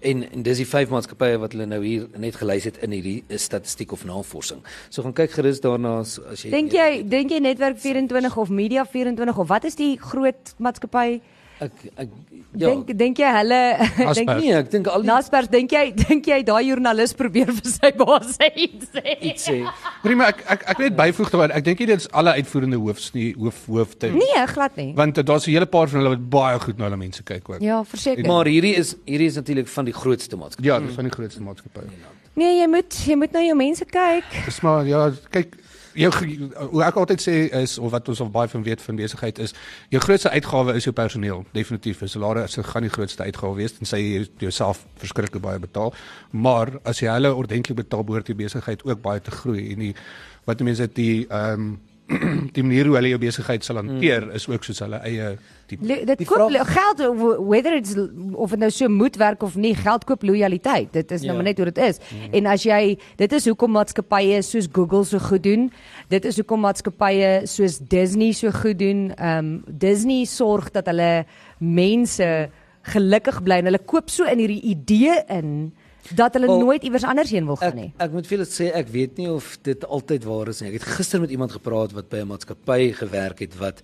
En, en dis die vyf maatskappye wat hulle nou hier net gelys het in hierdie eh, statistiek of navorsing. So gaan kyk gerus daarna as, as jy Dink jy dink jy netwerk 24 of media 24 of wat is die groot maatskappy? ek ek ja, Dink dink jy hulle dink Nou- Naspers. nie nee, ek dink al die Naspers, dink jy dink jy daai joernalis probeer vir sy baas iets sê? iets sê. prima ek ek ek wil net byvoeg daaraan. Ek dink nie dit is alle uitvoerende hoofs nie, hoof hoofde. Nee, glad nie. Want eh, daar's 'n hele paar van hulle wat baie goed na hulle mense kyk ook. Ja, verseker. Maar hierdie is hierdie is natuurlik van die grootste maatskappye. Ja, dis van die grootste maatskappye. Nee, jy moet jy moet na jou mense kyk. Dis maar ja, kyk jou ge- hoe ek altyd sê is of wat ons al baie van weet van besigheid is, jou grootste uitgawe is jou personeel, definitief. Jou salarisse gaan die grootste uitgawe wees en sy jouself verskriklik baie betaal. Maar as jy hulle ordentlik betaal, behoort die besigheid ook baie te groei en die wat mense dit die ehm die manier hoe hulle jou besigheid sal hanteer is ook soos hulle eie tipe. Mm. Le, dit Die koop vraag- le- geld w- whether it's l- of dit nou so moet werk of nie, geld koop lojaliteit. Dit is nou Ja. maar net hoe dit is. Mm. En as jy dit is hoekom maatskappye soos Google so goed doen. Dit is hoekom maatskappye soos Disney so goed doen. Ehm um, Disney sorg dat hulle mense gelukkig bly en hulle koop so in hierdie idee in dat hulle Wel, well, nooit iewers anders heen wil gaan nie. Ek, ek moet vir julle sê ek weet nie of dit altyd waar is nie. Ek het gister met iemand gepraat wat by 'n maatskappy gewerk het wat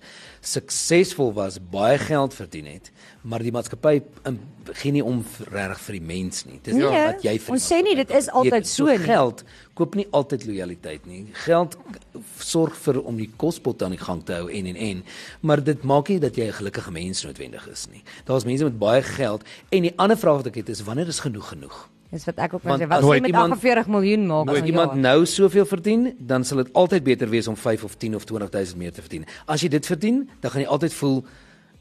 suksesvol was, baie geld verdien het, maar die maatskappy um, gee nie om vir- regtig vir die mens nie. Dis Nee, ja, wat jy vir die ons sê nie, maatskappy dit is beteken. altyd so nie. Geld koop nie altyd lojaliteit nie. Geld k- sorg vir om die kospot aan die gang te hou en en en, maar dit maak nie dat jy 'n gelukkige mens noodwendig is nie. Daar's mense met baie geld en die ander vraag wat ek het is wanneer is genoeg genoeg? Dis wat ek ook wou Want sê. Wat as as jy nooit met iemand- 48 miljoen maak As in 'n iemand jaar? nou soveel verdien, dan sal dit altyd beter wees om 5 of 10 of 20000 meer te verdien. As jy dit verdien, dan gaan jy altyd voel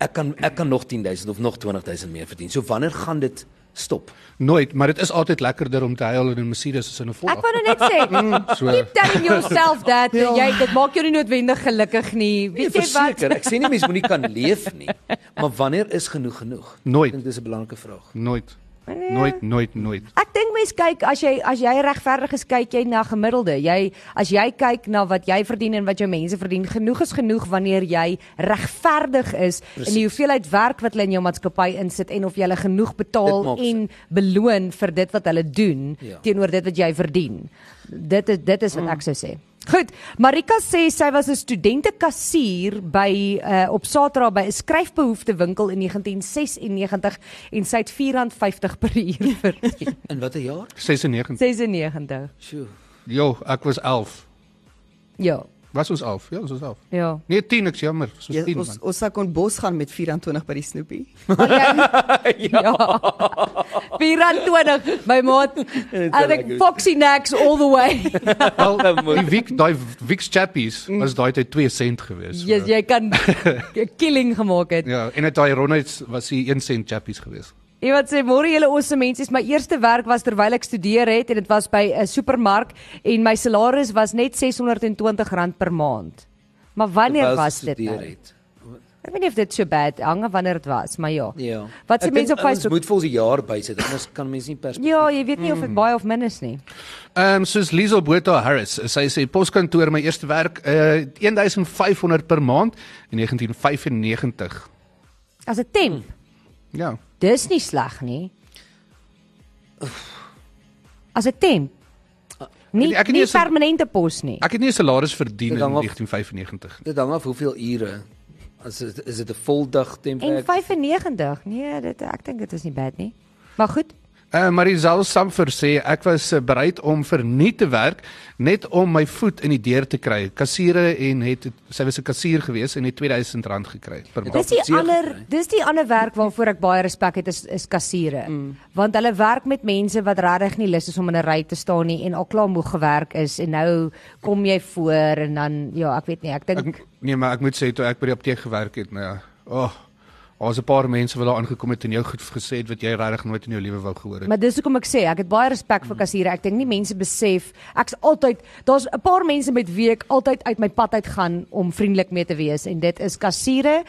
ek kan ek kan nog 10000 of nog 20000 meer verdien. So wanneer gaan dit stop? Nooit, maar dit is altyd lekkerder om te huil in 'n Mercedes as in 'n Ek Volkswagen. wou nou net sê, so. keep telling yourself that ja. jy dit maak jou nie noodwendig gelukkig nie. Nee, Weet jy wat? verseker, ek sê nie mense moenie kan leef nie, maar wanneer is genoeg genoeg? Nooit. Ek dink dis 'n belangrike vraag. Nooit. Nee. Nooit, nooit, nooit. Ek dink mens kyk as jy as jy regverdig is kyk jy na gemiddelde. Jy as jy kyk na wat jy verdien en wat jou mense verdien, genoeg is genoeg wanneer jy regverdig is Precies. in die hoeveelheid werk wat hulle in jou maatskappy insit en of jy hulle genoeg Dit betaal maak en beloon vir dit wat hulle doen ja. Ja. Mm. teenoor dit wat jy verdien. Dit is dit is wat ek sou sê. Goed, Marika sê sy was 'n studentekassier by uh, op Satra by 'n skryfbehoefte winkel in 1996 en sy het R4.50 per uur verdien. In watter jaar? 96. 96. Sjoe. Jo, ek was 11. Ja, Was ons 11? Ja, ons was 11. ja. Nee, 10, ek's jammer. Ons was Ja, 10 ons man. ons sou kon bos gaan met 24 by die Snoepie. ja. ja. R20 my maat. wel En ek Ja, lekker. Foxy Nacks all the way. Wel, die week daai week's chappies Mm. was daai tyd 2 sent gewees. so- Ja, Jy jy kan 'n killing gemaak het. Ja, en het daai Ronalds was hy 1 sent chappies gewees. Iemand sê môre julle awesome mensies, my eerste werk was terwyl ek studeer het en dit was by 'n supermark en my salaris was net R620 per maand. Maar wanneer Terwyl was sy dit studeer nou? het. Ek weet nie of dit so bad hang af wanneer dit was, maar ja. Ja. Wat sê Ek mense dink op Facebook? Ons moet vir ons 'n jaar bysit, anders kan mense nie perspektief. Ja, jy weet nie of Mm. dit baie of min is nie. Ehm um, soos Liesel Botha Harris, sy sê poskantoor my eerste werk uh 1500 per maand in 1995. As 'n Mm. temp, Ja. dis nie sleg nie. As 'n temp. Nie Ek het nie nie eens 'n- permanente pos nie. Ek het nie 'n salaris verdien in Dit hang af- 1995 nie. Dit hang af hoeveel ure. As dit is dit 'n voldag En temperatuur. 95. Nee, dit ek dink dit is nie bad nie. Maar goed. Uh Marisol Samfer sê ek was eh, bereid om vir nie te werk net om my voet in die deur te kry. Kassiere en het sy was 'n kassier gewees en het R2000 gekry per maand. Dis die seer ander gekry. dis die ander werk waarvoor ek baie respek het is is kassiere. Mm. Want hulle werk met mense wat regtig nie lus is om in 'n ry te staan nie en al klaar moeg gewerk is en nou kom jy voor en dan ja, ek weet nie, ek dink Ek, nee, maar ek moet sê toe ek by die apteek gewerk het, nou ja. O, oh, daar's 'n paar mense wat daar aangekom het en jou goed gesê het wat jy regtig nooit in jou lewe wou gehoor het. Maar dis hoekom ek sê ek het baie respek Hmm. vir kassiere. Ek dink nie mense besef ek's altyd daar's 'n paar mense met wie ek altyd uit my pad uit gaan om vriendelik mee te wees en dit is kassiere,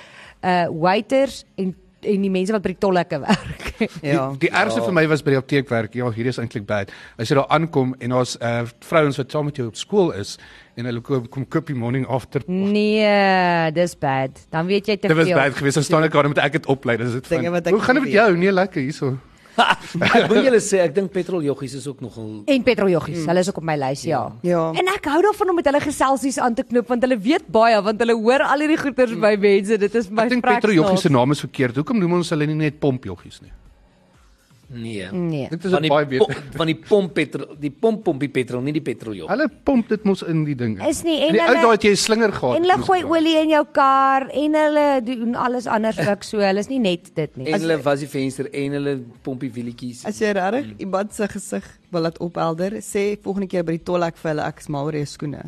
uh waiters en en die mense wat by die tolhekke werk. Ja. Die, die ergste vir my was by die apteekwerk. Ja, hier is eintlik bad. As jy daar aankom en daar's uh vrouens wat saam met jou op skool is en hulle kom kom koop die morning after. nee, dis bad. Dan weet jy te Dit was veel. bad geweest. Dan staan ek daar met ek het oplei. Dis dit. Dinge van, wat ek Hoe gaan dit nie met jou? Nee, lekker hierso. Ek wil julle sê, ek dink petroljoggies is ook nogal En petroljoggies, Hmm. hulle is ook op my lys, ja. Ja. En ek hou daarvan om met hulle geselsies aan te knoop want hulle weet baie want hulle hoor al hierdie goeters by mense. Dit is my Hmm. Ek dink vrek Petro Joggie se snaaks. naam is verkeerd. Hoekom noem ons hulle nie net pomp joggies nie? nee. Nee. Dit is Van die baie po- beter. van die pomp petrol, die pomp pompie petrol, nie die petroljog. Hulle pomp dit mos in die ding. in. Is nie, en die ou hulle- daai het jy 'n slinger gehad. En hulle moes gooi dra. olie in jou kar en hulle doen alles anders ook so. Hulle is nie net dit nie. En hulle was die venster en hulle pompie wielietjies. As jy regtig iemand se gesig wil laat ophelder, sê volgende keer by die tolhek vir hulle ek is mal oor jou skoene.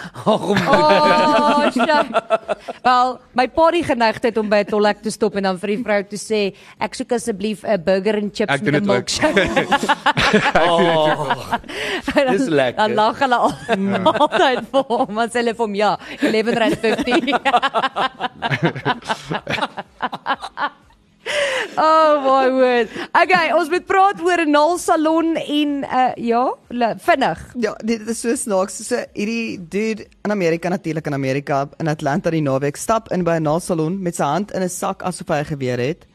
Ag, om- Oh, shit. Wel, my pa het geneig het om by 'n tollek te stop en dan vir die vrou te sê, "Ek soek asseblief 'n burger en chips Ek met doen 'n dit ook. milkshake." Ja, oh, En dan- Dis lekker. Dan lag hulle al Ja. altyd vir hom, want hulle vir hom ja, R11.50. Oh my word. Okay, ons moet praat oor 'n naalsalon en uh ja, le- vinnig. Ja, dit is so snaaks. So hierdie dude in Amerika natuurlik in Amerika in Atlanta die naweek stap in by 'n naalsalon met sy hand in 'n sak asof hy 'n geweer het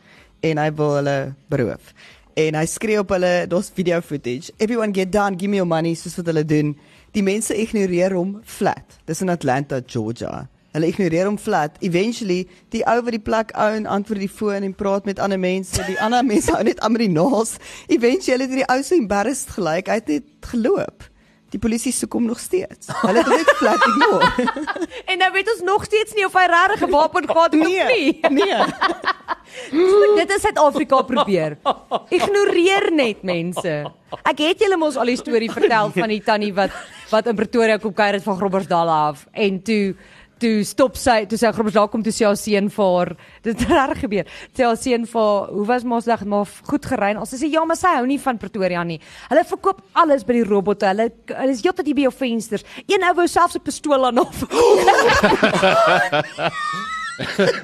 en hy wil hulle beroof. En hy skree op hulle, daar's video footage. Everyone get down, give me your money soos wat hulle doen. Die mense ignoreer hom flat. Dis in Atlanta, Georgia. Hulle ignoreer hom flat. Eventually, die ou wat die plek own antwoord die foon en praat met ander mense. Die ander mense hou net aan met die naels. Eventually het die ou so embarrassed gelyk. Hy het net geloop. Die polisie soek hom nog steeds. Hulle het hom net flat ignore. En nou weet ons nog steeds nie of hy regtig gewapen gehad het of nie. Nee. Goed, dit is Suid-Afrika probeer. Ignoreer net mense. Ek het julle mos al die storie vertel van die tannie wat wat in Pretoria kom kuier het van Groblersdal af en toe toe stop sy toe sy Groblersdal kom toe sê haar seun vir haar dit het reg gebeur. Sê haar seun vir haar, hoe was Maasdag maar goed gerein. Ons sê ja, maar sy hou nie van Pretoria nie. Hulle verkoop alles by die robotte. Hulle hulle is heeltyd hier by jou vensters. Een ou wou selfs 'n pistool aan hom.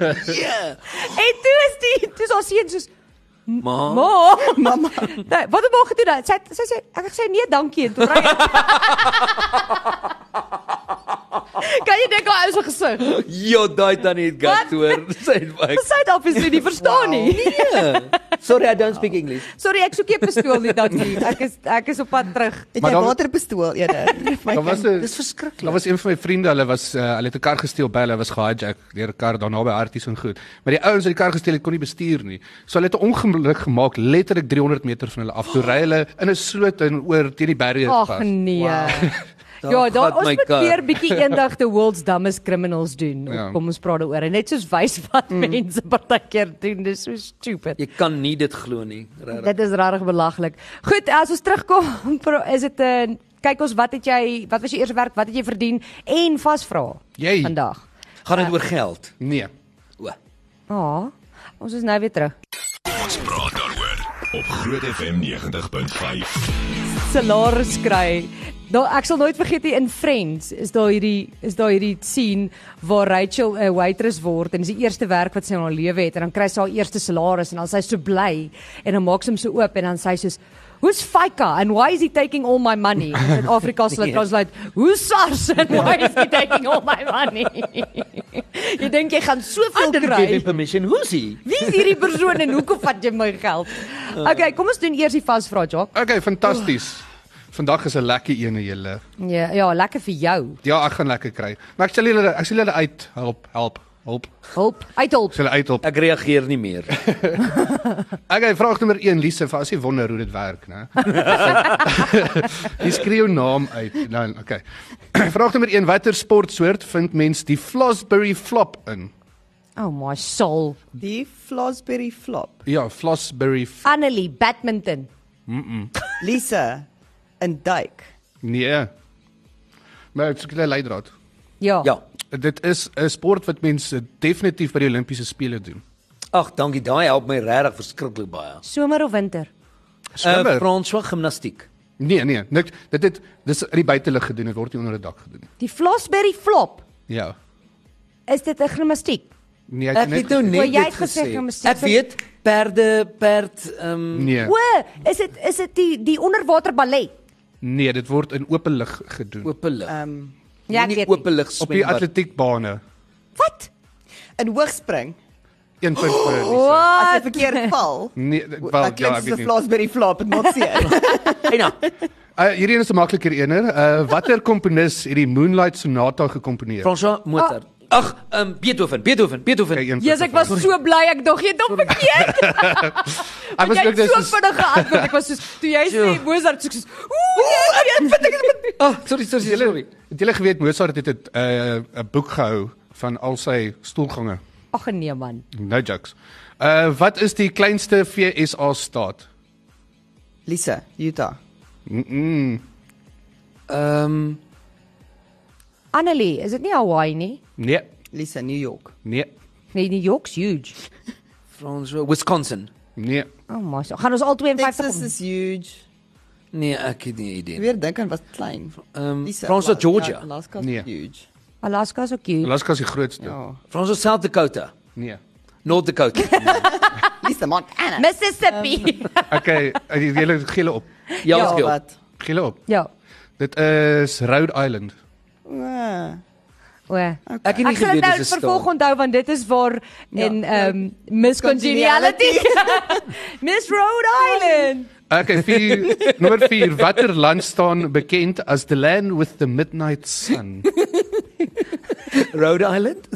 En toe is die toe is haar seun soos ma. Ma, mamma. Nee, wat het ma gedoen? dan? Sy het- sy sê ek het gesê nee, dankie en toe ry. hy. kan jy dink haar ou se gesig? Ja, daai tannie het Wat? gat hoor. Sy het baie. Sy het obviously nie verstaan nie. Nee. Sorry, I don't speak English. Sorry, ek soek nie 'n pistool nie, dankie. Ek is ek is op pad terug. Het Maar jy dan- waterpistool eerder? My Daar was 'n Dis verskriklik. Daar was een van my vriende, hulle was uh, hulle het 'n kar gesteel by hulle was gehijack deur 'n kar daarna by Arties en goed. Maar die ouens wat die kar gesteel het kon nie bestuur nie. So hulle het 'n ongeluk gemaak letterlik 300 meter van hulle af. Toe ry hulle in 'n sloot en oor teen die berge Ag nee. Ja, daar gat ons my moet kar. weer bietjie eendag the world's dumbest criminals doen. Ja. Ja. Kom ons praat daaroor en net soos wys wat mm. mense partykeer doen, dis so stupid. Jy kan nie dit glo nie, regtig. Dit is regtig belaglik. Goed, as ons terugkom, pro- is dit 'n uh, kyk ons wat het jy, wat was jou eerste werk, wat het jy verdien en vasvra Jy. vandag. Gaan dit oor geld? Nee. O. Ja, oh, ons is nou weer terug. Ons praat daaroor op Groot FM 90.5. salaris kry. Daar Nou, ek sal nooit vergeet hier in Friends is daar hierdie is daar hierdie scene waar Rachel 'n waitress word en dis die eerste werk wat sy in haar lewe het en dan kry sy haar eerste salaris en dan is sy so bly en dan maak sy hom so oop en dan sê sy soos Who's FICA and why is he taking all my money? In Suid-Afrika sal dit translate, "Who's SARS and why is he taking all my money?" jy dink jy gaan soveel kry. permission, who's he? Wie is hierdie persoon en hoekom vat jy my geld? Okay, kom ons doen eers die vasvraag, Jock. Okay, fantasties. Vandag is 'n lekker een vir julle. Ja, ja, lekker vir jou. Ja, ek gaan lekker kry. Maar ek sal julle ek sal julle uit help, help, help. Hulp, Ek uithulp. sal julle uithelp. Ek reageer nie meer. Okay, vraag nommer 1 Lise, vir as jy wonder hoe dit werk, né? jy skreeu naam uit. Nou, okay. Vraag nommer 1 watter sportsoort vind mens die Flossberry flop in? Oh my soul. Die Flasberry flop. Ja, Flossberry f- Annelie badminton. Lisa in duik. nee. Maar ek sê leidraad. Ja. Ja. Dit is 'n sport wat mense definitief by die Olimpiese spele doen. Ag, dankie. Daai help my regtig verskriklik baie. Somer of winter? Uh, Swimmer. Uh, François gimnastiek. nee, nee, niks. Dit het dis in die buitelug gedoen, dit word nie onder 'n dak gedoen nie. Die Flossberry flop. Ja. Is dit 'n gimnastiek? Nee, ek, Ek het nou gesê- net Maar jy het dit gesê gimnastiek Ek vir- weet perde perd ehm um, Nee. O, is dit is dit die die onderwater ballet? Nee, dit word in open lug gedoen. oop lig. Ehm um, Ja, ek nie weet. nie. oop lig Op die swembad. atletiekbane. Wat? in hoogspring. 1 punt vir Elise. As Wat? jy verkeerd val. Nee, dit- wel, Wel, ja, ja, ek weet dis nie. 'n Flasberry flop, dit maak seer. Eina. Uh, hierdie een is 'n makliker eener. Uh watter komponis het die Moonlight Sonata gekomponeer? François motor. Ag, ehm um, Beethoven, Beethoven, Beethoven. Ja. Kyk, een punt Jesus, vir ek was Frans. so bly ek dog jy dom verkeerd. Ek was Jy ook het so dis vinnig geantwoord. Ek was soos toe jy sê Mozart soos soos, ooh, nee, nee, nee. Ag, oh, sorry, sorry, sorry. Het julle geweet Mozart het 'n uh 'n boek gehou van al sy stoelgange? Ag nee man. No jokes. Uh wat is die kleinste VSA staat? Lisa, Utah. Ehm um, Annelie, is dit nie Hawaii nie? Nee, Lisa, New York. nee, Nee, New York's huge. François Wisconsin. nee. Oh my, so gaan ons al 52 Texas kom. is huge. Nee, ek het nie idee. nie. Weer dink aan was klein. Ehm um, Lisa, François Ala- Georgia, Ja, Alaska is Nee. huge. Alaska is ook huge. Alaska is die grootste. Ja. François South Dakota, Nee. North Dakota. Lisa Montana. Mississippi. Okay, julle gee hulle op. Ja, Ja, ons geel. wat? Gee hulle op. Ja. Dit is Rhode Island. Wow. O. Ek Ek het nie gaan dit geweet nou dis 'n vervolg staat. onthou want dit is waar Ja. in ehm Miss Congeniality Miss Rhode Island. Okay, vier, nommer 4. Watter land staan bekend as the land with the midnight sun? Rhode Island?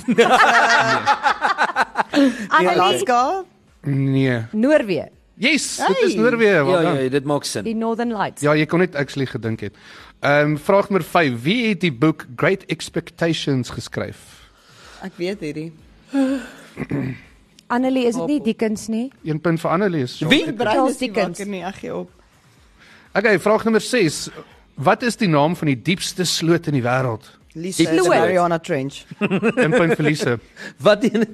Annelie Alaska. Nee. Noorwe, Yes, dit is Hey. Noorwe. Ja, Well ja, ja, ja, dit maak sin. die Northern Lights. ja, jy kon net actually gedink het. Ehm um, vraag nommer 5. Wie het die boek Great Expectations geskryf? Ek weet hierdie. Annelie, is dit nie Dickens nie? Een punt vir Annelies. Wie? Die brein Charles is nie Dickens. wakker nie, ek gee op. Okay, vraag nommer 6. Wat is die naam van die diepste sloot in die wêreld? Lisa Die is in Floyd. Mariana Trench. Een punt vir Lise. Wat in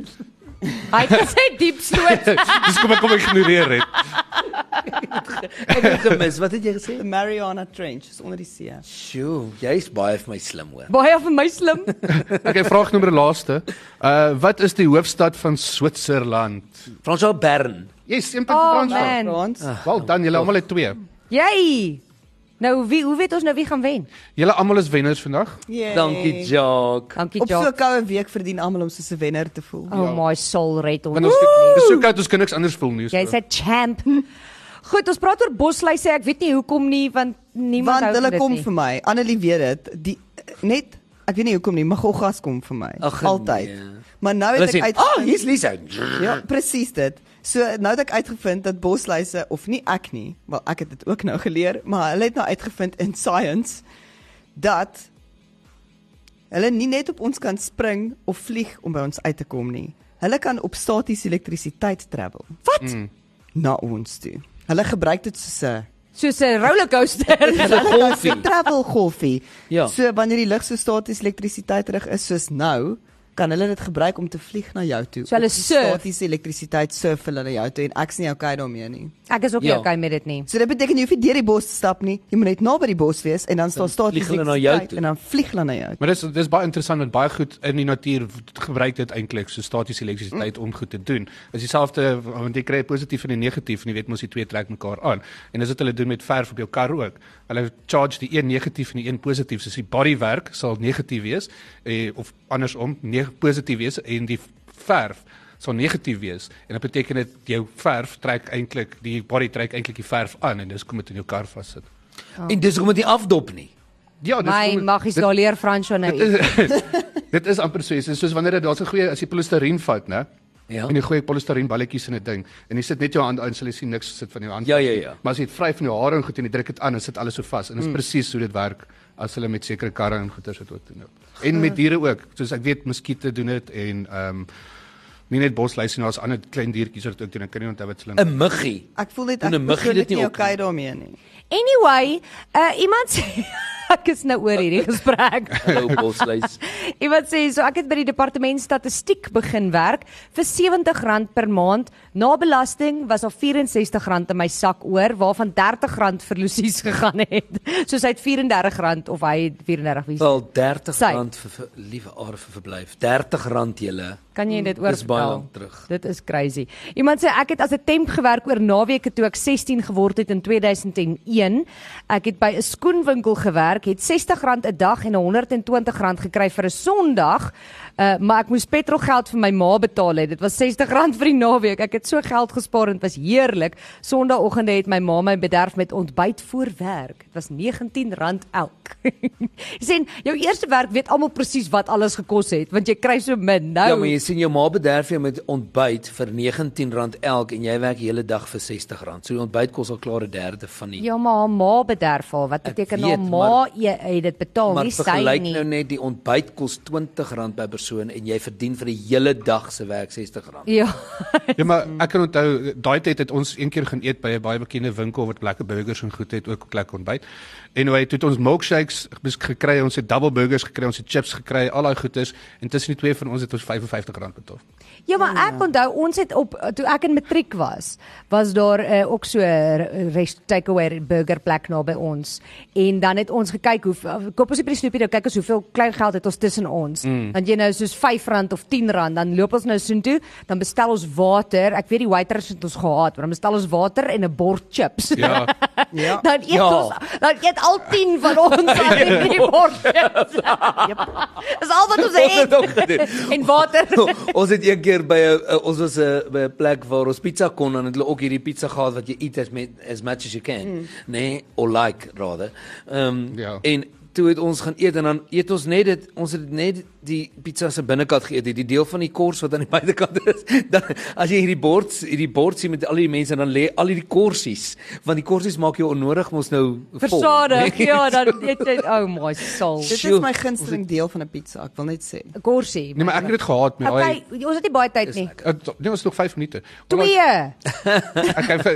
Hy het gesê diep sloot. Dis kom ek kom ignoreer het. ek het gemis. Wat het jy gesê? The Mariana Trench is onder die see. Sjoe, jy's baie vir my slim hoor. Baie van my slim. Okay, vraag nommer laaste. Uh wat is die hoofstad van Switserland? François Bern. Yes, een punt vir Oh Frans. Oh, man. Ah, Frans. Wel dan julle almal het twee. Jy. Nou wie hoe weet ons nou wie gaan wen? Julle almal is wenners vandag. Yay. Dankie Jock. Dankie Op so 'n Jock. koue week verdien almal om soos 'n wenner te voel. Oh my soul red Want ons. ons dis so koud ons kan niks anders voel nie. so. Jy's 'n champ. Goed, ons praat oor bosluise. Ek weet nie hoekom nie want niemand Want hou van hulle dit kom nie. vir my. Annelie weet dit. Die eh, net ek weet nie hoekom nie, maar goggas kom vir my. Ag, Altyd. nee. Maar nou Hulle het sê, ek uit "Ah, hier's Lisa." Ja, presies dit. So nou het ek uitgevind dat bosluise of nie ek nie, wel ek het dit ook nou geleer, maar hulle het nou uitgevind in science dat hulle nie net op ons kan spring of vlieg om by ons uit te kom nie. Hulle kan op statiese elektrisiteit travel Wat? na ons toe. Hulle gebruik dit soos 'n Soos 'n rollercoaster. Dis 'n golfie. travel golfie. Ja. So wanneer die lug so staties elektrisiteit rig is soos nou, kan hulle dit gebruik om te vlieg na jou toe. So hulle Op die surf. statiese elektrisiteit surf hulle na jou toe en ek's nie okay daarmee nie. Ek is ook nie Ja. ja. okay met dit nie. So dit beteken jy hoef nie deur die bos te stap nie. Jy moet net naby die bos wees en dan staan vlieg statiese hulle na jou elektrisiteit toe. en dan vlieg hulle na jou. toe. Maar dis dis baie interessant want baie goed in die natuur w- gebruik dit eintlik so statiese elektrisiteit om goed te doen. Is dieselfde want jy kry positief en die negatief en jy weet mos die twee trek mekaar aan. En dis wat hulle doen met verf op jou kar ook. Hulle charge die een negatief en die een positief. Soos die bodywerk sal negatief wees eh, of andersom, neg positief wees en die verf sal negatief wees. En dit beteken dit jou verf trek eintlik die body trek eintlik die verf aan en dis kom dit in jou kar vassit. En dis hoekom dit nie afdop nie. Ja, dis My hoe- maggies daar leer Fransjo nou. iets. Dit is amper so iets. Dit is soos wanneer dit daar's 'n goeie as jy polistireen vat, né? Ja. En jy gooi polistireen balletjies in 'n ding en jy sit net jou hand aan, sal jy sien niks sit van jou hand. Ja, ja, ja. Hmm. Maar as jy dit vryf van jou hare en goed en jy druk dit aan, dan sit alles so vas en dit is mm. presies hoe dit werk as hulle met sekere karre en goeder sit ook doen. nou. En met diere ook. Soos ek weet muskiete doen dit en ehm um, nie net bosluise nie, daar's ander klein diertjies wat dit ook doen. Ek kan nie onthou wat hulle 'n Muggie. Ek voel dit Doen 'n ek muggie dit persoonlik nie nie op okay nie? daarmee nie. Anyway, uh iemand sê ek is nou oor hierdie gesprek. Ou bosluis. Iemand sê so ek het by die departement statistiek begin werk vir R70 per maand. Na belasting was daar R64 in my sak oor waarvan R30 vir Lucies gegaan het. Soos hy het R34 of hy het 34 wie. Wel R30 Sy. vir vir- liewe aarde vir verblyf. R30 julle. Kan jy dit oor Hmm, Dis baie lank terug. Dit is crazy. Iemand sê ek het as 'n temp gewerk oor naweke toe ek 16 geword het in 2001. Ek het by 'n skoenwinkel gewerk, het R60 'n dag en R120 gekry vir 'n Sondag. Uh, maar ek moes petrolgeld vir my ma betaal het. Dit was R60 vir die naweek. Ek het so geld gespaar en dit was heerlik. Sondagoggende het my ma my bederf met ontbyt voor werk. Dit was R19 elk. jy sê jou eerste werk weet almal presies wat alles gekos het want jy kry so min. Nou Ja, maar jy sien jou ma bederf jou met ontbyt vir R19 elk en jy werk die hele dag vir R60. So die ontbyt kos al klaar 'n derde van die. Ja, maar haar ma bederf haar. Wat Ek beteken haar weet, ma maar- e- het dit betaal, maar nie sy vergelyk nie. nou net die ontbyt kos R20 per persoon en jy verdien vir die hele dag se werk R60. Ja. Ja, maar ek kan onthou daai tyd het ons een keer gaan eet by 'n baie bekende winkel wat lekker burgers en goed het, ook lekker ontbyt. Anyway, toe het ons milkshakes bes- gekry, ons het double burgers gekry, ons het chips gekry, al daai goeders en tussen die twee van ons het ons R55 betaal. ja, maar ek onthou ons het op toe ek in matriek was, was daar uh, ook so 'n rest takeaway burger plek naby ons. En dan het ons gekyk hoe koop ons nie by die snoepie nou kyk ons hoeveel klein geld het ons tussen ons. Mm. Want jy nou soos R5 of R10, dan loop ons nou soontoe, dan bestel ons water. Ek weet die waiters het ons gehaat, maar dan bestel ons water en 'n bord chips. Ja. Ja. Dan eet Ja. ons dan eet al 10 van ons aan hierdie bord. Dis al wat ons Ons het ook eet. gedoen. en water. Nou, ons het een keer by 'n uh, ons was 'n by 'n plek waar ons pizza kon en het hulle ook hierdie pizza gehad wat jy eet as met as much as you can, mm. nee, or like rather. Ehm um, Ja. en toe het ons gaan eet en dan eet ons net dit ons het net die pizza se binnekant geëet, die, die deel van die kors wat aan die buitekant is. Dan as jy hierdie bord hierdie bord sien met al die mense en dan lê al hierdie korsies, want die korsies maak jou onnodig mos nou vol. Versadig. nee? Ja, dan eet jy oh my soul. Dit Sjoe, is my gunsteling deel van 'n pizza, ek wil net sê. Korsie. Nee, maar ek het dit gehaat met daai Okay, ons het nie baie tyd nou- nie. Uh, Nee, ons het nog 5 minute. Twee. Ja, Ek het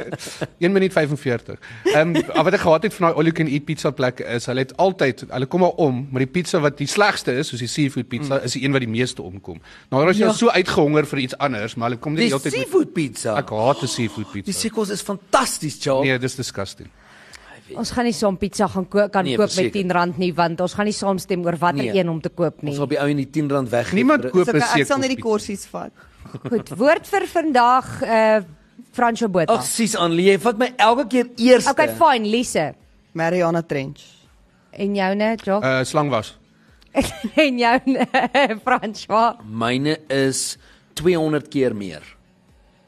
1 minuut 45. Ehm um, wat ek gehad het van daai all you can eat pizza plekke is, hulle het altyd, hulle kom maar om, maar die pizza wat die slegste is, soos die seafood pizza, mm. is die een wat die meeste omkom. Nou hulle is ja. so uitgehonger vir iets anders, maar hulle kom net Die die hele tyd met seafood pizza. Ek haat die seafood Die pizza. seekos is fantasties, Charles. Nee, dis disgusting. Ons gaan nie saam pizza gaan koop kan Nee, koop met verseker. R10 nie want ons gaan nie saamstem oor watter Nee. een om te koop nie. Ons op die ou en die R10 weg. Niemand koop So Koop 'n ek sal net die seekos korsies vat. Goed, woord vir vandag eh Fransjo Botha. Ag sies Annelie, jy vat my elke keer eers. Ah. Okay, fine, Lise. Mariana Trench. En joune, Jock. Uh slang was. Eh. en joune, Fransjo. Myne is 200 keer meer.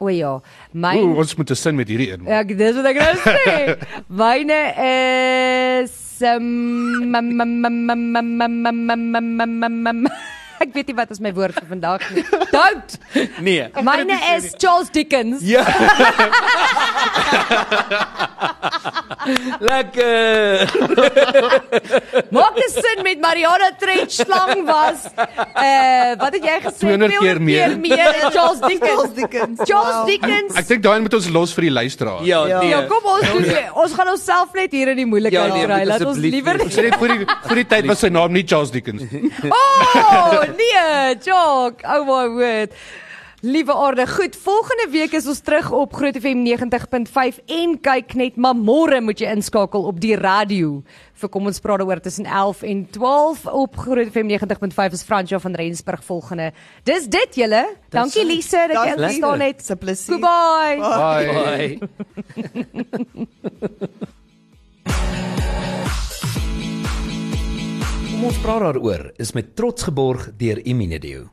O ja, my Ooh, ons moet 'n sin met hierdie een. maak. Ek dis wat ek nou sê. Myne is um, mam, mam, mam, mam, mam, mam, mam, mam, mam, mam, mam. ek weet nie wat is my woord vir vandag nie. Don't. Nee. Myne is Charles Dickens. Ja. Lekker. Maak 'n sin met Mariana Trench slang was. Eh, wat het jy gesê? 200 keer meer. meer as Charles Dickens. Charles Dickens. Charles Wow. Dickens. Ek dink daai moet ons los vir die luisteraar. Ja, Ja. nee. Ja, kom ons doen dit. Ons gaan onsself net hier in die moeilikheid ja, Ja, nee, nee, moet kry. Laat ons asseblief liewer Ek sê net vir die vir die tyd was sy naam nie Charles Dickens nie. Oh, nee, joke. Oh my word. Liewe aarde, goed. Volgende week is ons terug op Groot FM 90.5 en kyk net, maar môre moet jy inskakel op die radio vir kom ons praat daaroor tussen 11 en 12 op Groot FM 90.5 is Fransjo van Rensburg volgende. Dis dit julle. Dankie Lise dat jy Dankie. ingestaan het. Dis 'n plesier. Goodbye. Bye. Bye. Kom ons praat daaroor is met trots geborg deur Imine Dio.